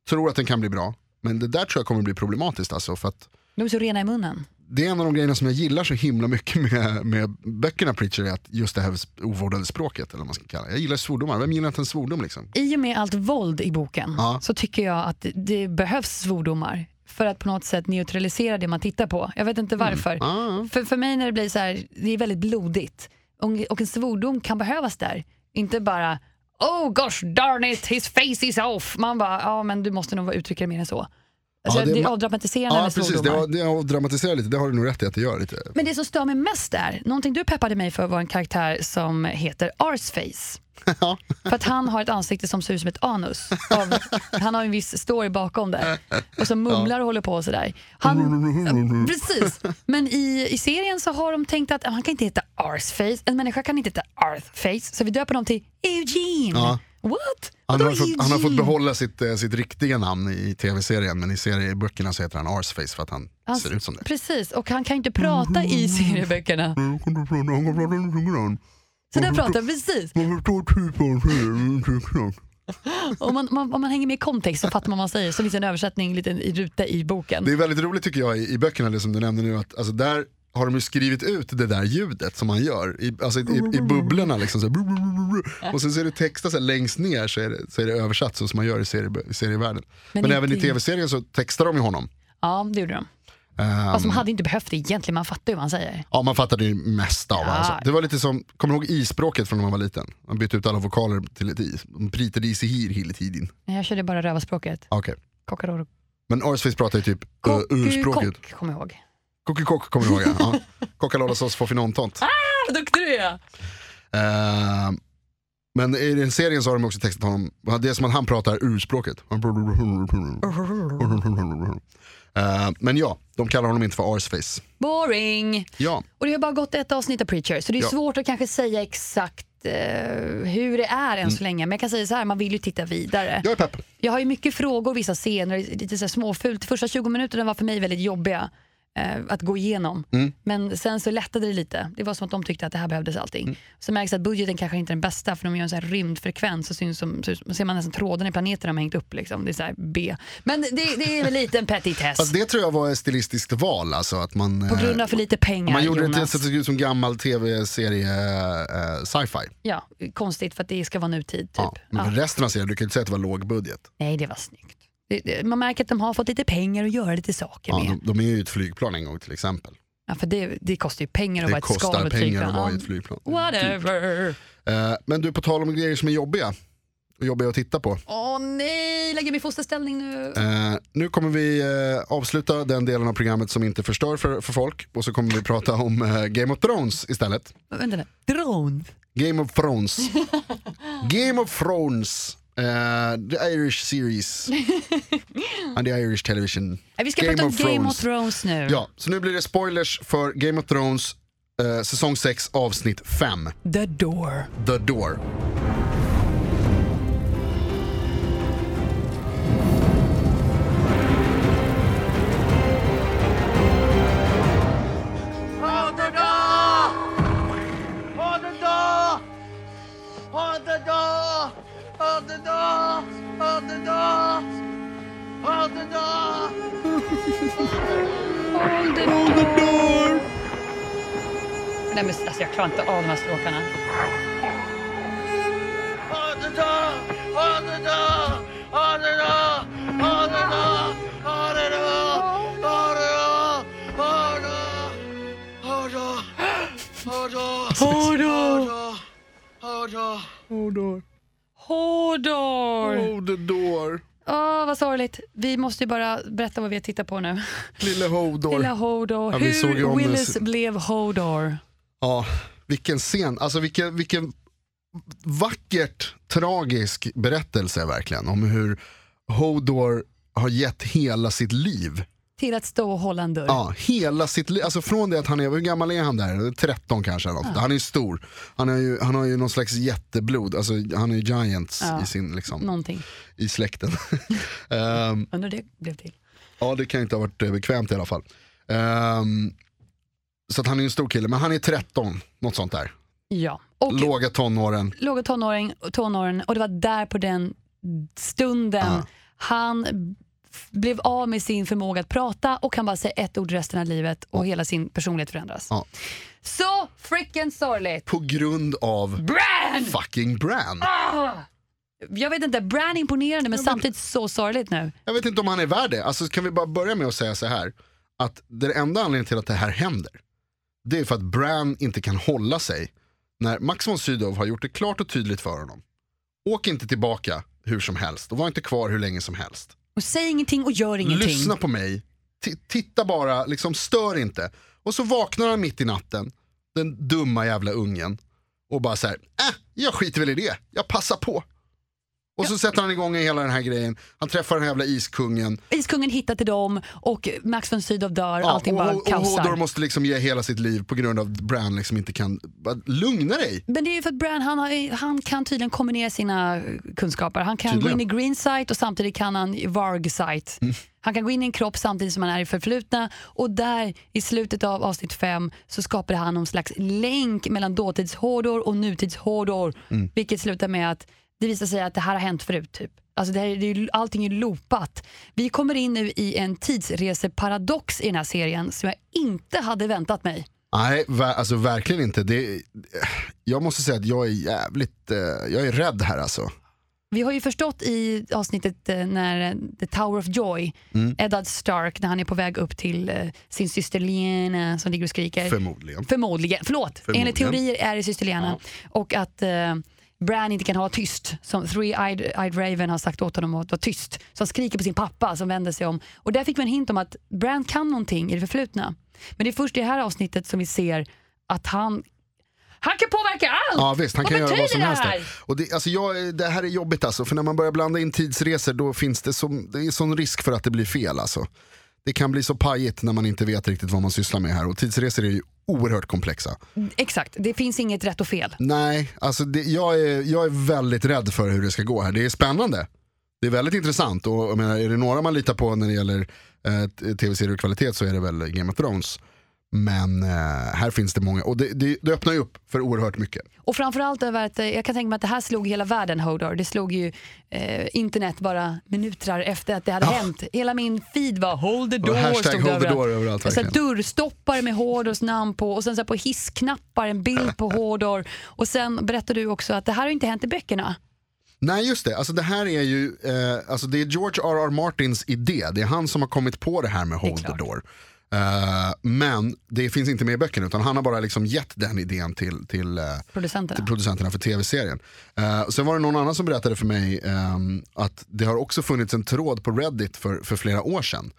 A: Tror att den kan bli bra. Men det där tror jag kommer bli problematiskt alltså. För att
B: De är så rena i munnen.
A: det är en av de grejerna som jag gillar så himla mycket med, med böckerna Preacher, är att just det här sp- ovårdade språket eller vad man ska kalla det. Jag gillar svordomar, vem gillar inte en svordom liksom?
B: I och med allt våld i boken
A: Ja.
B: så tycker jag att det- det behövs svordomar för att på något sätt neutralisera det man tittar på. Jag vet inte varför.
A: Ah,
B: För, för mig när det blir så här, det är väldigt blodigt och, och en svordom kan behövas där. Inte bara Oh gosh darn it, his face is off. Man bara, ja men du måste nog uttrycka det mer än så. Alltså,
A: Ja, det-
B: det, avdramatiserar
A: Ja,
B: hennes
A: precis. Det,
B: svordomar.
A: har- det har dramatiserat lite, det har du nog rätt i att det gör lite.
B: Men det som stör mig mest där, någonting du peppade mig för var en karaktär som heter Arsface.
A: Ja.
B: För att han har ett ansikte som ser ut som ett anus. Av, han har en viss story bakom där. Och som mumlar och håller på och sådär. Han, precis. Men i, i serien så har de tänkt att ah, han kan inte heta Arsface. En människa kan inte heta Arthface. Så vi döper dem till Eugene.
A: Ja.
B: What?
A: Han
B: Vadå
A: har, fått, han har fått
B: Eugene?
A: behålla sitt, eh, sitt riktiga namn i tv-serien men i serieböckerna så heter han Arsface för att han
B: Alltså,
A: ser ut som det.
B: Precis, och han kan ju inte prata i serieböckerna. Så där pratar han precis. Om man, man, om man hänger med i kontext så fattar man vad man säger. Så finns det en översättning, en liten ruta i boken.
A: Det är väldigt roligt tycker jag i, i böckerna, det som du nämnde nu, att alltså, där har de ju skrivit ut det där ljudet som han gör i, alltså, i, i bubblorna. Liksom, så här. och sen så är det textat så här, längst ner så är, det, så är det översatt så som man gör i, serie, i serievärlden. Men,
B: Men
A: även
B: inte
A: i
B: i-
A: tv-serien så textar de ju honom.
B: Ja, det gjorde de.
A: Ehm,
B: Fast de hade inte behövt det egentligen, man fattar ju vad han säger.
A: Ja man fattade ju mesta av
B: Ja.
A: alltså. Det var lite som, kommer du ihåg isspråket från när man var liten? Man bytte ut alla vokaler till ett i. De pritade i sig hir hela tiden.
B: Nej, Jag körde bara rövarspråket.
A: Ah, Okej.
B: Kockaror och
A: Men Arsface pratar ju typ uh, urspråket.
B: kock, kom ihåg.
A: Kockikock kommer du ihåg ja. ja. Kockalollasås får finontant.
B: Ah, vad duktig du är!
A: Eh, men i den serien så har de också textat honom, det är som att han pratar urspråket. Eh, men ja, de kallar honom inte för Arsface.
B: Boring!
A: Ja,
B: Och det har bara gått ett avsnitt av Preacher, så det är
A: Ja.
B: svårt att kanske säga exakt eh, hur det är än
A: Mm.
B: så länge. Men jag kan säga så här, man vill ju titta vidare.
A: jag är pepp.
B: Jag har ju mycket frågor vissa scener, lite så här småfult. Första 20 minuterna var för mig väldigt jobbiga eh, att gå igenom.
A: Mm.
B: Men sen så lättade det lite. Det var som att de tyckte att det här behövdes allting.
A: Mm.
B: Så märks att budgeten kanske inte är den bästa för de gör en så här rymdfrekvens så, syns som, så ser man nästan tråden i planeten de har hängt upp. Liksom. Det är så här B. Men det, det är väl lite en petitess.
A: Fast det tror jag var ett stilistiskt val alltså. Att man,
B: På grund av för lite pengar
A: Man gjorde det till
B: Jonas.
A: så att det såg ut som gammal tv-serie eh, sci-fi.
B: Ja, konstigt för att det ska vara nutid typ.
A: Ja, men
B: Ja.
A: för resten av serien, du kan ju inte säga att det var låg budget.
B: Nej, det var snyggt. Det- det- Man märker att de har fått lite pengar att göra lite saker
A: Ja,
B: med.
A: de, de är ju i ett flygplan en gång till exempel.
B: Ja, för det, det kostar ju pengar att
A: Det
B: vara ett skal
A: kostar
B: och
A: pengar att
B: flygplan.
A: vara i
B: Ja,
A: ett flygplan.
B: Whatever.
A: Eh, men du, på tal om grejer som är jobbiga och jobbiga att titta på.
B: Åh nej, lägger mig i fosterställning nu.
A: Eh, nu kommer vi eh, avsluta den delen av programmet som inte förstör för, för folk och så kommer vi prata om eh, Game of Thrones istället.
B: Vänta nu. Äh, Drone.
A: Game of Thrones. Game of Thrones. eh, the Irish series. And the Irish television.
B: Nej, Äh, vi ska
A: Game
B: prata om
A: of
B: Game
A: Thrones.
B: of Thrones nu.
A: Ja, så nu blir det spoilers för Game of Thrones eh, säsong 6 avsnitt 5,
B: The Door.
A: The Door.
C: Hold the door! Hold the door! Hold the door! Hold the door! Hold the door! Hold the door!
B: Hold the door. Nej, men, alltså, jag klarar inte av de här stråkarna.
C: Hold the door! Hold the door! Hold the door! Hold the door! Hold the door! Hold the door! Hold the door! Hold the door! Hold the door!
B: Hold door.
C: Hold door! Hold door!
A: Oh, door.
B: Hold door.
A: the door.
B: Åh, vad sorgligt. Vi måste ju bara berätta vad vi har tittat på nu.
A: Lille Hodor.
B: Lilla Hodor.
A: Ja, vi såg ju om-
B: Hur Willis blev Hodor.
A: Ja, vilken scen. Alltså vilken, vilken vackert tragisk berättelse verkligen om hur Hodor har gett hela sitt liv.
B: Till att stå och hålla en dörr.
A: Ja, hela sitt liv. Alltså från det att han är, hur gammal är han där? 13 kanske eller något. Han är ju stor. Han har ju, han har ju någon slags jätteblod, alltså han är ju giants
B: Ja.
A: i sin liksom.
B: Någonting.
A: i släkten. Ehm,
B: Undrar det blev till.
A: ja, det kan ju inte ha varit eh, bekvämt i alla fall. Ehm, så att han är ju en stor kille, men han är 13, något sånt där.
B: Ja. Och
A: Låga tonåren.
B: låga tonåring, tonåren och det var där på den stunden
A: Ja.
B: han f- blev av med sin förmåga att prata och kan bara säga ett ord resten av livet
A: Ah.
B: och hela sin personlighet förändras.
A: Ja.
B: Så freaking sorgligt!
A: På grund av
B: Bran!
A: fucking Bran.
B: Ah! Jag vet inte, Bran är imponerande men samtidigt så sorgligt nu.
A: Jag vet inte om han är värd det. Alltså, kan vi bara börja med att säga så här. Att den enda anledningen till att det här händer, det är för att Bran inte kan hålla sig. När Max von Sydow har gjort det klart och tydligt för honom. Åk inte tillbaka hur som helst och var inte kvar hur länge som helst.
B: Och Och säg ingenting och gör ingenting.
A: Lyssna på mig. T- titta bara, liksom stör inte. Och så vaknar han mitt i natten, den dumma jävla ungen. Och bara så här, äh, jag skiter väl i det, jag passar på. Och så sätter han igång hela den här grejen, han träffar den här jävla iskungen.
B: Iskungen hittar till dem och Max von Sydow dör.
A: Ja,
B: allting bara
A: och, och, och
B: kaosar.
A: Hodor måste liksom ge hela sitt liv på grund av att Bran liksom inte kan, bara, lugna dig.
B: Men det är ju för att Bran han, har, han kan tydligen kombinera sina kunskaper. Han kan
A: Tydligen.
B: gå in i green sight och samtidigt kan han i varg sight. Han kan gå in i en kropp samtidigt som han är i förflutna och där i slutet av avsnitt 5 så skapar han någon slags länk mellan dåtidshårdor och nutidshårdor vilket slutar med att det visar sig att det här har hänt förut. Typ. Alltså det här, är- det är, ju- allting är loopat. Vi kommer in nu i en tidsreseparadox i den här serien som jag inte hade väntat mig.
A: Nej, ver- alltså verkligen inte. Det, jag måste säga att jag är jävligt, eh, jag är rädd här alltså.
B: Vi har ju förstått i avsnittet eh, när eh, The Tower of Joy,
A: Mm.
B: Eddard Stark, när han är på väg upp till eh, sin syster Lena som ligger och skriker.
A: Förmodligen.
B: Förmodligen, förlåt.
A: Förmodligen.
B: Enligt teorier är det syster Lena. Och att eh, Bran inte kan ha tyst, som Three-Eyed Eyed Raven har sagt åt honom att vara tyst. Så han skriker på sin pappa som vänder sig om. Och där fick vi en hint om att Bran kan någonting i det förflutna. Men det är först i det här avsnittet som vi ser att han, han kan påverka allt!
A: Ja visst, han kan göra
B: betyder
A: vad som
B: det
A: helst.
B: här?
A: där. Och det, alltså jag, det här är jobbigt alltså, för när man börjar blanda in tidsresor då finns det, som, det är sån risk för att det blir fel alltså. Det kan bli så pajigt när man inte vet riktigt vad man sysslar med här och tidsresor är ju oerhört komplexa.
B: Exakt, det finns inget rätt och fel.
A: Nej, alltså det, jag, är, jag är väldigt rädd för hur det ska gå här. Det är spännande. Det är väldigt intressant och jag menar, är det några man litar på när det gäller eh, t- tv-serier och kvalitet så är det väl Game of Thrones. Men eh, här finns det många och det, det, det öppnar ju upp för oerhört mycket.
B: Och framförallt över att eh, jag kan tänka mig att det här slog hela världen Hodor. Det slog ju eh, internet bara minuter efter att det hade hänt. Hela min feed var hold the door.
A: hashtag
B: stod det
A: hold the door överallt,
B: Jag satt
A: verkligen.
B: dörrstoppare med Hodors namn på och sen så här på hissknappar en bild på Hodor. Och sen berättade du också att det här har ju inte hänt i böckerna.
A: Nej just det, alltså det här är ju eh, alltså det är George R.R. Martins idé. Det är han som har kommit på det här med Hold the
B: klart.
A: Door. Eh, men det finns inte med i böckerna utan han har bara liksom gett den idén till, till, eh, till
B: Producenterna.
A: producenterna för tv-serien. Eh, sen var det någon annan som berättade för mig ehm, att det har också funnits en tråd på Reddit för, för flera år sedan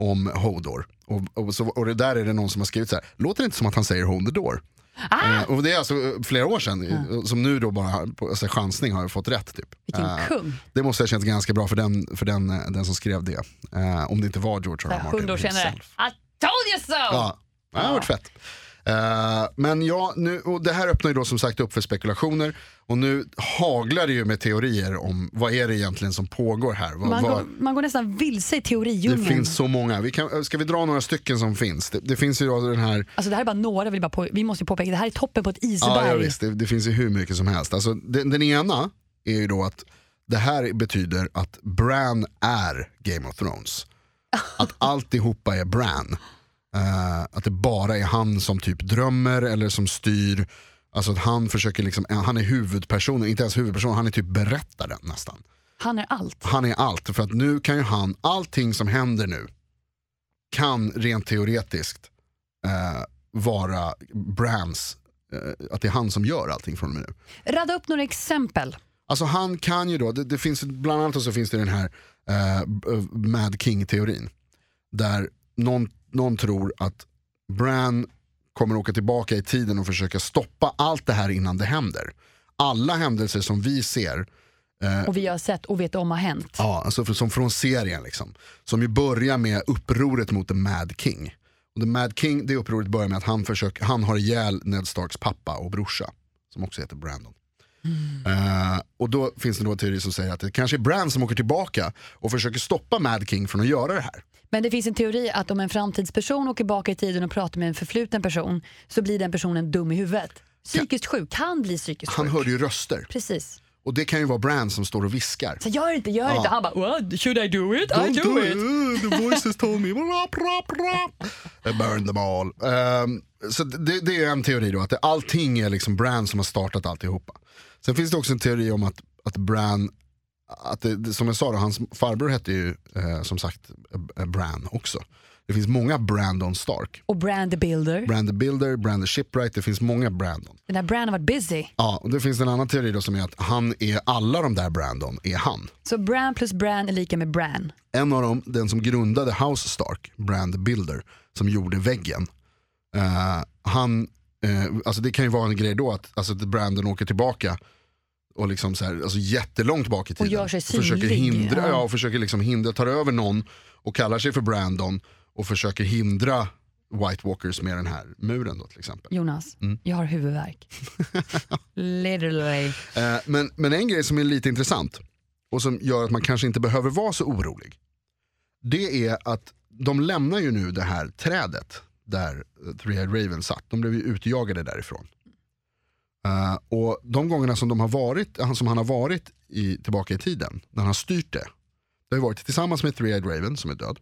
A: om Hodor. Och, och, så, och det där är det någon som har skrivit så här, låter det inte som att han säger Hold the Door?
B: Ah,
A: Eh, och det är alltså eh, flera år sedan, eh, som nu då bara på alltså, chansning har fått rätt. Typ.
B: vilken
A: Eh,
B: kung.
A: det måste ha känts ganska bra för den, för den, eh, den som skrev det. Eh, om det inte var George R. R. Martin
B: Hundra år senare.
A: himself.
B: I told you so!
A: Ja, det har varit fett. Eh, men ja, nu, och det här öppnar ju då som sagt upp för spekulationer och nu haglar det ju med teorier om vad är det egentligen som pågår här. Vad,
B: Man,
A: vad,
B: går, man går nästan vilse i
A: det
B: teoridjungeln.
A: finns så många. Vi kan, ska vi dra några stycken som finns? Det, det finns ju då den här
B: Alltså det här är bara några, jag vill bara på, vi måste ju påpeka, det här är toppen på ett
A: Ja,
B: isberg.
A: ja visst, det, det finns ju hur mycket som helst. Alltså, den, den ena är ju då att det här betyder att Bran är Game of Thrones. Att alltihopa är Bran. Eh, att det bara är han som typ drömmer eller som styr. Alltså att han försöker liksom, eh, han är huvudpersonen, inte ens huvudpersonen, han är typ berättaren nästan.
B: Han är allt.
A: Han är allt, för att nu kan ju han, allting som händer nu kan rent teoretiskt eh, vara Brans, eh, att det är han som gör allting från och med nu.
B: Radda upp några exempel.
A: Alltså han kan ju då, det, det finns, bland annat så finns det den här eh, b- eh, Mad King-teorin. Där någon, någon tror att Bran kommer åka tillbaka i tiden och försöka stoppa allt det här innan det händer. Alla händelser som vi ser
B: Och vi har sett och vet om har hänt.
A: Ja, alltså för, som från serien liksom. Som ju börjar med upproret mot The Mad King. Och The Mad King, det upproret börjar med att han, försöker, han har ihjäl Ned Starks pappa och brorsa. Som också heter Brandon. Eh, och då finns det då en teori som säger att det kanske är Bran som åker tillbaka och försöker stoppa Mad King från att göra det här.
B: Men det finns en teori att om en framtidsperson åker bak i tiden och pratar med en förfluten person så blir den personen dum i huvudet. Psykiskt sjuk, kan bli psykiskt
A: Han
B: sjuk.
A: hörde ju röster.
B: Precis.
A: Och det kan ju vara Bran som står och viskar.
B: Så gör inte, gör inte. Han bara What? should I do it? I
A: Don't
B: do it.
A: The voices told me. Rap, rap, rap. I Eh, burn them all. Ehm, så det, det är en teori då, att det, allting är liksom Bran som har startat alltihopa. Sen finns det också en teori om att, att Bran att det, det, som jag sa, då, hans farbror hette ju eh, som sagt eh, Bran också. Det finns många Brandon Stark.
B: Och Brand the Builder.
A: Brand the Builder, Brand the Shipwright, det finns många Brandon.
B: Den här Brand har varit busy.
A: Ja, och det finns en annan teori då som är att han är alla de där Brandon är han.
B: Så Bran plus Bran är lika med Bran.
A: En av dem, den som grundade House Stark, Brand the Builder, som gjorde väggen. Eh, han, eh, alltså det kan ju vara en grej då att alltså, att Brandon åker tillbaka och liksom så här, alltså jättelångt bak i tiden.
B: gör sig
A: försöker
B: synlig,
A: hindra,
B: ja.
A: ja. och försöker liksom hindra, tar över någon och kallar sig för Brandon och försöker hindra White Walkers med den här muren då till exempel.
B: Jonas,
A: Mm.
B: jag har huvudvärk. Literally.
A: Eh, men, men en grej som är lite intressant och som gör att man kanske inte behöver vara så orolig. Det är att de lämnar ju nu det här trädet där Three-Eyed Raven satt. De blev ju utjagade därifrån. Eh, och de gångerna som, de har varit, han- som han har varit i, tillbaka i tiden, när han har styrt det. Det har ju varit tillsammans med Three-Eyed Raven som är död.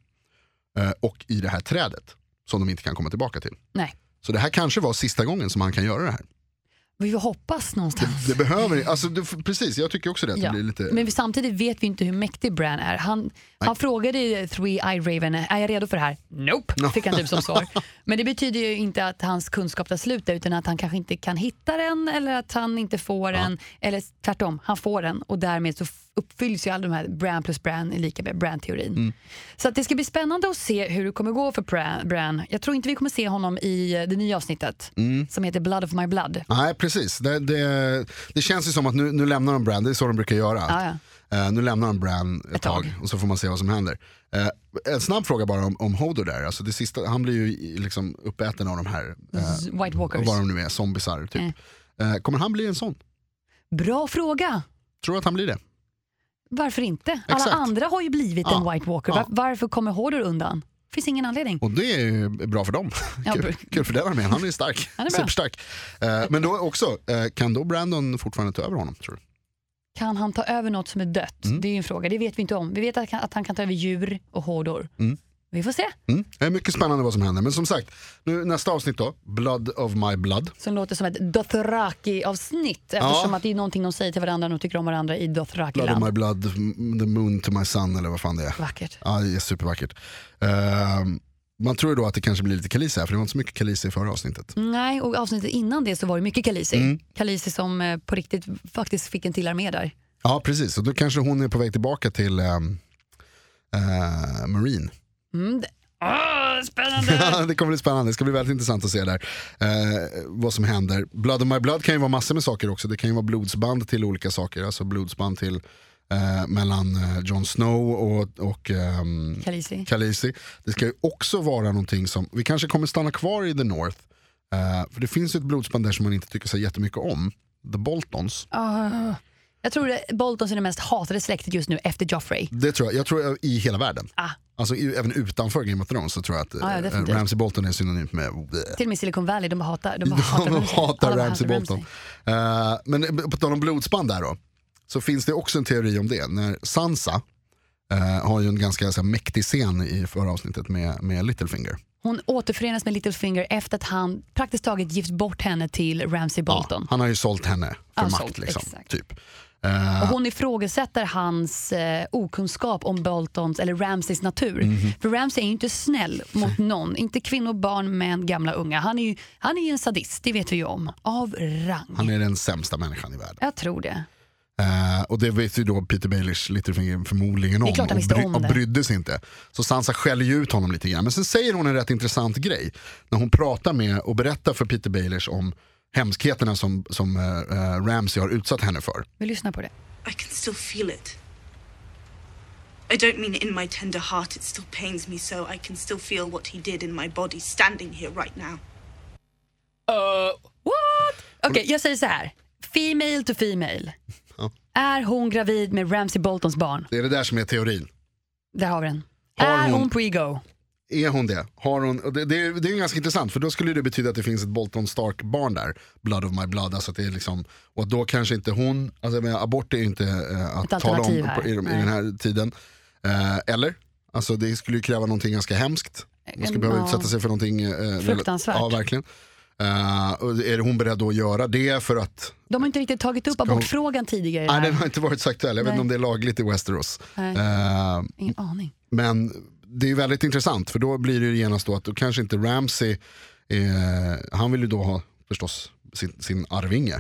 A: eh, och i det här trädet som de inte kan komma tillbaka till.
B: Nej,
A: Så det här kanske var sista gången som han kan göra det här.
B: vi hoppas någonstans.
A: Det behöver alltså, det, precis, jag tycker också det. Att
B: Ja.
A: det blir lite...
B: Men vi- samtidigt vet vi inte hur mäktig Bran är. Han, han frågade ju Three Eyed Raven, är jag redo för det här? Nope, fick han typ som svar. Men det betyder ju inte att hans kunskap tar slut där, utan att han kanske inte kan hitta den eller att han inte får den. Eller tvärtom, han får den och därmed så f- uppfylls ju alla de här Bran plus Bran är lika med Bran-teorin. Så att det ska bli spännande att se hur det kommer gå för Bran- Bran. Jag tror inte vi kommer se honom i eh, det nya avsnittet som heter Blood of My Blood.
A: Nej, precis. Det, det, det känns ju som att nu, nu lämnar de Brand, det är så de brukar göra.
B: Ja, ja.
A: Eh, nu lämnar de Brand ett,
B: Ett tag.
A: tag. och så får man se vad som händer. Eh, en snabb fråga bara om, om Hodor där. Alltså det sista, han blir ju i- liksom uppäten av de här, eh,
B: Z- White Walkers.
A: vad de nu är, zombisar typ.
B: Mm.
A: Eh, kommer han bli en sån?
B: Bra fråga!
A: Tror du att han blir det?
B: Varför inte? Alla
A: Exakt.
B: andra har ju blivit
A: Ja.
B: en White Walker.
A: Ja.
B: Var, varför kommer Hodor undan? finns ingen anledning.
A: Och det är ju bra för dem.
B: Ja,
A: kul,
B: br-
A: kul för den armén, han är ju stark.
B: Han är bra.
A: Superstark. Eh, men då också, eh, kan då Brandon fortfarande ta över honom tror du?
B: Kan han ta över något som är dött?
A: Mm.
B: Det är ju en fråga. Det vet vi inte om. Vi vet att, han- att han kan ta över djur och Hodor. Vi får se.
A: Mm. Det är mycket spännande vad som händer. Men som sagt, nu, nästa avsnitt då, Blood of my blood.
B: Som låter som ett Dothraki-avsnitt eftersom att det är någonting de säger till varandra och de tycker om varandra i
A: Blood of
B: Dothraki-land.
A: my blood, m- the moon to my sun eller vad fan det är.
B: Vackert.
A: Ja, det är supervackert. Ehm, man tror ju då att det kanske blir lite Khaleesi här, för det var inte så mycket Khaleesi i förra avsnittet.
B: Nej, och avsnittet innan det så var det mycket Khaleesi.
A: Mm.
B: Khaleesi som eh, på riktigt faktiskt fick en till armé där.
A: Ja, precis. Och då kanske hon är på väg tillbaka till ehm, eh, Marine.
B: Mm. det- Ah, spännande!
A: det kommer bli spännande, det ska bli väldigt intressant att se där eh, vad som händer. Blood of my blood kan ju vara massor med saker också. Det kan ju vara blodsband till olika saker, alltså blodsband till eh, mellan eh, Jon Snow och, och ehm,
B: Khaleesi.
A: Khaleesi. Det ska ju också vara någonting som, vi kanske kommer stanna kvar i The North, eh, för det finns ju ett blodsband där som man inte tycker så jättemycket om, The Boltons.
B: Ah. Jag tror det- Boltons är det mest hatade släktet just nu efter Joffrey.
A: Det tror jag, jag tror jag, i hela världen.
B: Ah.
A: Alltså i, även utanför Game of Thrones så tror jag att
B: Ja, ja,
A: eh,
B: definitivt.
A: Ramsay Bolton är synonymt med
B: Till och med Silicon Valley, de bara hatar, de bara hatar,
A: De
B: Ja,
A: hatar
B: de bara
A: Ramsay Bolton. Eh, men på tal om blodsband där då, så finns det också en teori om det. När Sansa eh, har ju en ganska så här, mäktig scen i förra avsnittet med, med Littlefinger.
B: Hon återförenas med Littlefinger efter att han praktiskt taget gift bort henne till Ramsay Bolton.
A: Ja, han har ju sålt henne för
B: Ja,
A: makt.
B: sålt,
A: liksom,
B: exakt.
A: typ. Eh,
B: Och hon ifrågasätter hans eh, okunskap om Boltons eller Ramsays natur.
A: Mhm.
B: För Ramsay är ju inte snäll mot någon. Inte kvinnor, barn, män, gamla, unga. Han är ju han är ju en sadist, det vet vi ju om. Av rang.
A: han är den sämsta människan i världen.
B: Jag tror det.
A: Eh, och det vet ju då Peter Baelish Littlefinger förmodligen om.
B: är klart han
A: och,
B: visste
A: bry-
B: om
A: och
B: det.
A: brydde sig inte. Så Sansa skäller ju ut honom lite grann. Men sen säger hon en rätt intressant grej. När hon pratar med och berättar för Peter Baelish om hemskheterna som, som eh, eh, Ramsay har utsatt henne för.
B: Vi lyssnar på det.
D: I can still feel it. I don't mean it in my tender heart, it still pains me so. I can still feel what he did in my body standing here right now.
B: What? Okej, jag säger så här. Female to female.
A: Ja.
B: Är hon gravid med Ramsay Boltons barn?
A: Det är det där som är teorin.
B: Där har vi den.
A: Har
B: är hon,
A: hon-
B: prego?
A: Är hon det? Har hon, och det, det, är- det är ju ganska intressant för då skulle ju det betyda att det finns ett Bolton Stark-barn där. Blood of my blood. Alltså att det är liksom, och då kanske inte hon, alltså jag menar, abort är ju inte eh,
B: Ett
A: att tala om
B: alternativ här.
A: på, i, de- i
B: Nej.
A: den här tiden. Eh, eller? Alltså det skulle ju kräva någonting ganska hemskt. Man skulle
B: En-
A: behöva
B: ja.
A: utsätta sig för någonting. Eh, rela-
B: Fruktansvärt.
A: Ja, verkligen. Eh, och är hon beredd då att göra det för att
B: De har inte riktigt tagit upp abortfrågan tidigare.
A: Nej,
B: Nej.
A: den har inte varit så aktuell. Jag vet
B: Nej.
A: inte om det är lagligt i Westeros.
B: Nej.
A: Eh,
B: Ingen aning.
A: men det är väldigt intressant för då blir det ju genast då att då kanske inte Ramsey, eh, han vill ju då ha förstås sin, sin arvinge.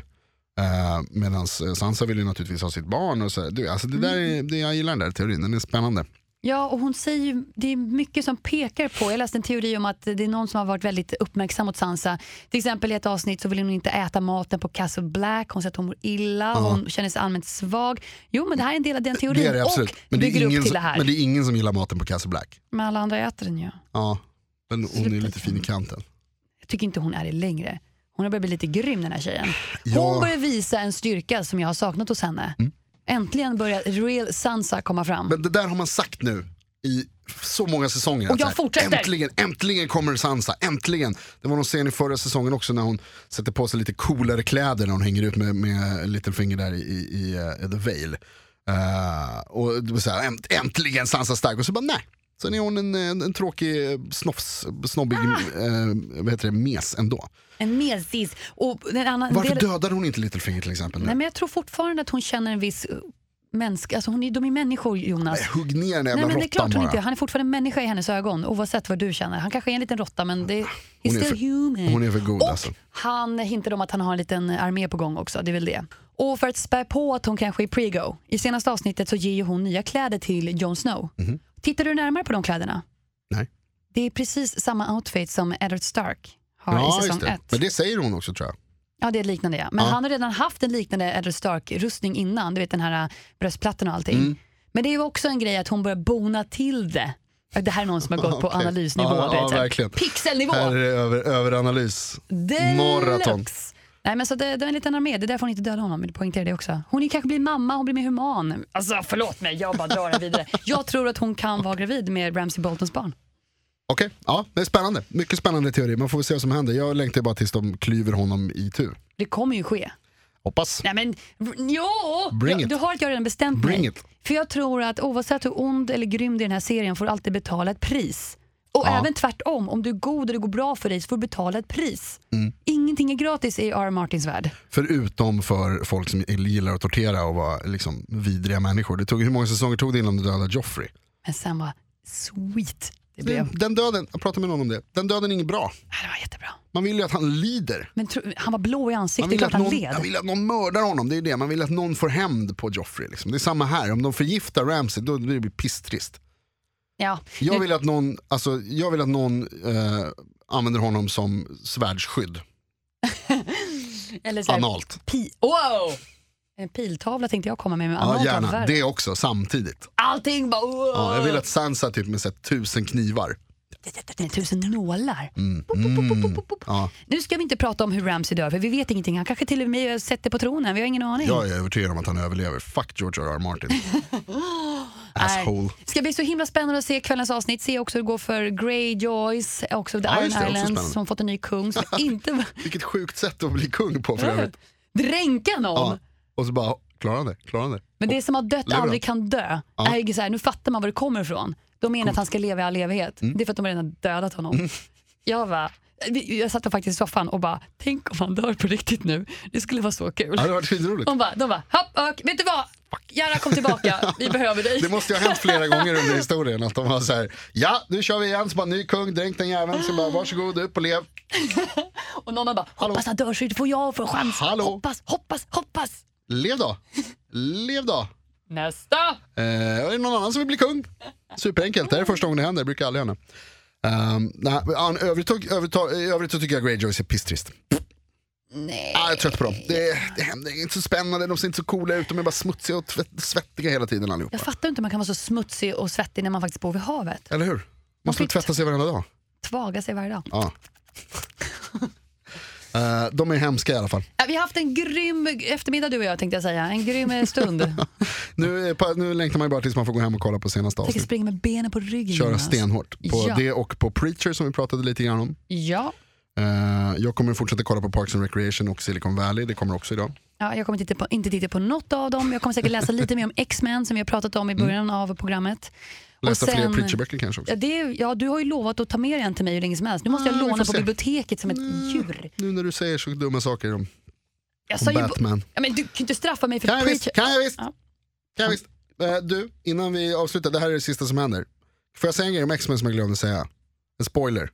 A: Eh, Medan Sansa vill ju naturligtvis ha sitt barn. Och så, här. du, alltså det där är, det, jag gillar den där teorin, den är spännande.
B: Ja, och hon säger ju, det är mycket som pekar på, jag läste en teori om att det är någon som har varit väldigt uppmärksam mot Sansa. Till exempel i ett avsnitt så vill hon inte äta maten på Castle Black, hon säger att hon mår illa, hon känner sig allmänt svag. Jo men det här är en del av den teorin
A: Det är det absolut.
B: och
A: Men det är,
B: bygger
A: ingen
B: upp till det
A: som,
B: här. Men,
A: men det är ingen som gillar maten på Castle Black.
B: alla andra äter den ju.
A: Ja, men hon är ju
B: Sluta.
A: lite fin i kanten.
B: Jag tycker inte hon är det längre. Hon har börjat bli lite grym den här tjejen. Hon
A: Ja. Mm.
B: börjar visa en styrka som jag har saknat hos henne. Äntligen börjar real Sansa komma fram.
A: Men det där har man sagt nu i så många säsonger.
B: Och
A: Att
B: jag
A: så här,
B: fortsätter.
A: Äntligen, äntligen kommer Sansa, äntligen. Det var någon scen i förra säsongen också när hon sätter på sig lite coolare kläder när hon hänger ut med, med Littlefinger där i, i eh, The Veil. Eh, och det var så här, änt, äntligen Sansa stark och så bara nej. Sen är hon en, en, en tråkig eh, snofs, snobbig
B: Ah.
A: eh, vad heter det, mes ändå.
B: En mesis. Och en annan
A: Varför
B: del...
A: dödar hon inte Littlefinger till exempel? nu?
B: Nej, men jag tror fortfarande att hon känner en viss eh, mänsk... Alltså hon är, de är människor, Jonas.
A: Hugg ner den
B: Nej,
A: jävla
B: men det är
A: råttan
B: klart hon inte
A: bara.
B: är. Han är fortfarande en människa i hennes ögon, oavsett vad du känner. Han kanske är en liten råtta, men det, he's
A: är
B: still
A: för-
B: human.
A: hon är för god,
B: och
A: alltså.
B: han hintar om att han har en liten armé på gång också, det är väl det. Och för att spä på att hon kanske är prego. I senaste avsnittet så ger ju hon nya kläder till Jon Snow.
A: Mhm.
B: Tittar du närmare på de kläderna?
A: Nej.
B: Det är precis samma outfit som Eddard Stark har i
A: Ja,
B: säsong
A: just det.
B: ett.
A: Men det säger hon också tror jag.
B: Ja, det är ett liknande ja. Men
A: Ja.
B: han har redan haft en liknande Eddard Stark-rustning innan, du vet den här äh, bröstplattan och allting.
A: Mm.
B: Men det är ju också en grej att hon börjar bona till det. Det här är någon som har gått på
A: Okej.
B: analysnivå.
A: Ja,
B: du vet,
A: ja,
B: så här,
A: verkligen.
B: Pixelnivå!
A: Här är det över, överanalys.
B: Deluxe.
A: Maraton.
B: Nej men så det, det är en liten armé, det är därför hon inte dödar honom. Men poängterar det också. Hon är- kanske blir mamma, hon blir mer human. Alltså förlåt mig, jag bara drar den vidare. Jag tror att hon kan vara gravid med Ramsey Boltons barn.
A: Okej, ja, det är spännande. Mycket spännande teori. Man får väl se vad som händer. Jag längtar bara tills de klyver honom i tu.
B: Det kommer ju ske.
A: Hoppas.
B: Nej men, jo!
A: Bring
B: du,
A: it.
B: du har att jag redan bestämt
A: Bring
B: mig.
A: it.
B: För jag tror att oavsett hur ond eller grym du är i den här serien får du alltid betala ett pris. Och
A: Ja.
B: även tvärtom, om du är god och det går bra för dig så får du betala ett pris.
A: Mm.
B: Ingenting är gratis i R. Martins värld.
A: Förutom för folk som gillar att tortera och vara liksom, vidriga människor. Det tog, hur många säsonger tog det innan du dödade Joffrey?
B: Men sen var sweet det blev.
A: Den, den döden, jag pratade med någon om det, den döden är inget bra.
B: Nej, Det var jättebra.
A: Man vill ju att han lider.
B: Men tro, han var blå i
A: Man
B: ansiktet, det är
A: vill,
B: klart
A: att
B: han
A: någon,
B: led.
A: man vill att någon mördar honom, det är det. Man vill att någon får hämnd på Joffrey. Liksom. Det är samma här, om de förgiftar Ramsay då blir det pisstrist.
B: Ja.
A: Jag vill att någon, alltså, jag vill att någon eh, använder honom som svärdsskydd.
B: Eller så här,
A: Analt.
B: pi, wow! En piltavla tänkte jag komma med, men
A: Ja,
B: annat var
A: gärna.
B: värre. Ah.
A: Det också, samtidigt.
B: Allting bara... Wow.
A: Ja, jag vill att Sansa typ med så här, tusen knivar.
B: Tusen nålar.
A: Mm. Ja,
B: Nu ska vi inte prata om hur Ramsey dör, för vi vet ingenting. Han kanske till och med sätter på tronen, vi har ingen aning.
A: jag är övertygad om att han överlever. Fuck George R.R. Martin.
B: Nej.
A: Asshole.
B: ska bli så himla spännande att se kvällens avsnitt, se också hur det går för Greyjoys, också The
A: Ja,
B: Iron
A: just det, också
B: Islands
A: spännande.
B: som fått en ny kung som inte var...
A: Vilket sjukt sätt att bli kung på för övrigt.
B: dränka någon.
A: Ja. Och så bara, klarar han det? Klarar han det?
B: Men det som har dött
A: Lever
B: aldrig kan dö. Är ju så här, nu fattar man var det kommer ifrån. De menar att han ska leva i all evighet.
A: Mm.
B: Det är för att de redan har dödat honom. Jag bara, jag satt faktiskt i soffan och bara, tänk om han dör på riktigt nu. Det skulle vara så kul.
A: Ja, det har varit skitroligt.
B: De bara, de bara hopp, ök, vet du vad? Gerhard kom tillbaka, vi behöver dig.
A: Det måste ju ha hänt flera gånger under historien att de var så här, ja nu kör vi igen, så bara ny kung, dränk den jäveln, så bara varsågod upp och lev.
B: Och någon bara, hoppas han dör så får jag få en chans.
A: Hallå?
B: Hoppas, hoppas, hoppas.
A: Lev då, lev då.
B: Nästa!
A: Eh, och är det någon annan som vill bli kung? Superenkelt, det här är första gången det händer, det brukar aldrig hända. Um, nej, an, övrigt, övrigt, övrigt så tycker jag Greyjoys är pisstrist.
B: Nej.
A: Ah, jag är trött på dem. Det, det händer det är inte så spännande, de ser inte så coola ut, de är bara smutsiga och tvätt, svettiga hela tiden allihopa.
B: Jag fattar inte hur man kan vara så smutsig och svettig när man faktiskt bor vid havet.
A: Eller hur? Måste
B: Man
A: de
B: fick-
A: tvätta sig varenda dag?
B: Tvaga sig varje dag.
A: Ja. Eh, de är hemska i alla fall.
B: Ja, Vi har haft en grym eftermiddag du och jag tänkte jag säga. En grym eh, stund. Jag
A: Nu, är pa- nu längtar man ju bara tills man får gå hem och kolla på senaste
B: tänker
A: avsnittet.
B: springa med benen på ryggen.
A: Köra
B: Jonas.
A: stenhårt på
B: Ja.
A: det och på Preacher som vi pratade lite grann om.
B: Ja.
A: Eh, jag kommer fortsätta kolla på Parks and Recreation och Silicon Valley, det kommer också idag.
B: ja. Jag kommer titta på, inte titta på något av dem. Jag kommer säkert läsa lite mer om X-Men som vi har pratat om i början av programmet.
A: Mm. Läsa
B: Och sen-
A: fler Preacher-böcker kanske också.
B: Ja, det är, ja, du har ju lovat att ta med dig en till mig hur länge som helst. Nu måste jag
A: Ja, vi
B: låna
A: får
B: på
A: se. Mm.
B: biblioteket som ett djur.
A: Nu när du säger så dumma saker om,
B: Jag sa
A: om
B: ju,
A: Batman.
B: ja, men du kan ju inte straffa mig för
A: Kan jag visst,
B: preacher.
A: kan jag visst.
B: Ja.
A: Kan jag visst. Eh, du, innan vi avslutar, det här är det sista som händer. Får jag säga en grej om X-Men som jag glömde säga? En spoiler.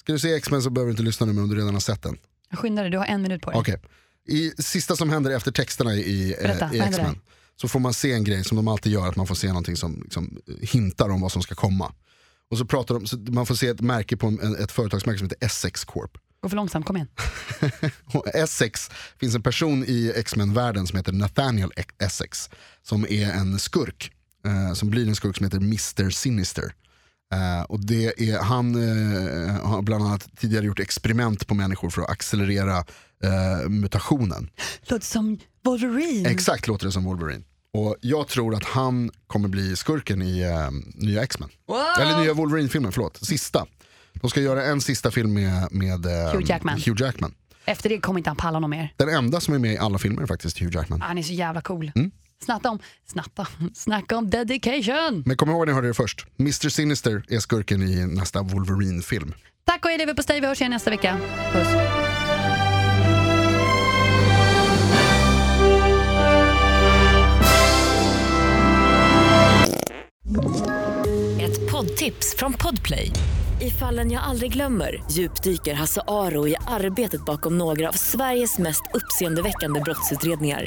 A: Ska du se X-Men så behöver du inte lyssna nu men om du redan har sett den.
B: Skynda dig, du har en minut på dig.
A: Okej. I sista som händer efter texterna i, eh,
B: Berätta, vad
A: i
B: händer
A: X-Men så får man se en grej som de alltid gör, att man får se någonting som liksom, hintar om vad som ska komma. Och så pratar de, så man får se ett märke på en, ett företagsmärke som heter Essex Corp.
B: Gå för långsamt, kom igen.
A: Och Essex finns en person i X-Men-världen som heter Nathaniel E- Essex. Som är en skurk. Eh, som blir en skurk som heter Mr Sinister. Eh, och det är, han eh, har bland annat tidigare gjort experiment på människor för att accelerera eh, mutationen.
B: Låter som Wolverine.
A: Exakt låter det som Wolverine. Och jag tror att han kommer bli skurken i eh, nya X-Men. Eller nya Wolverine-filmen, förlåt. Sista. De ska göra en sista film med, med eh,
B: Hugh Jackman.
A: Hugh Jackman.
B: Efter det kommer inte han palla någon mer.
A: Den enda som är med i alla filmer är faktiskt Hugh Jackman.
B: Han är så jävla cool.
A: Mm.
B: Snatta om, snatta, snacka om dedication.
A: Men kom ihåg att ni hörde det först. Mr Sinister är skurken i nästa Wolverine-film.
B: Tack och hej, lever på Vi hörs igen nästa vecka. Puss.
E: Ett poddtips från Podplay. I fallen jag aldrig glömmer djupdyker Hasse Aro i arbetet bakom några av Sveriges mest uppseendeväckande brottsutredningar.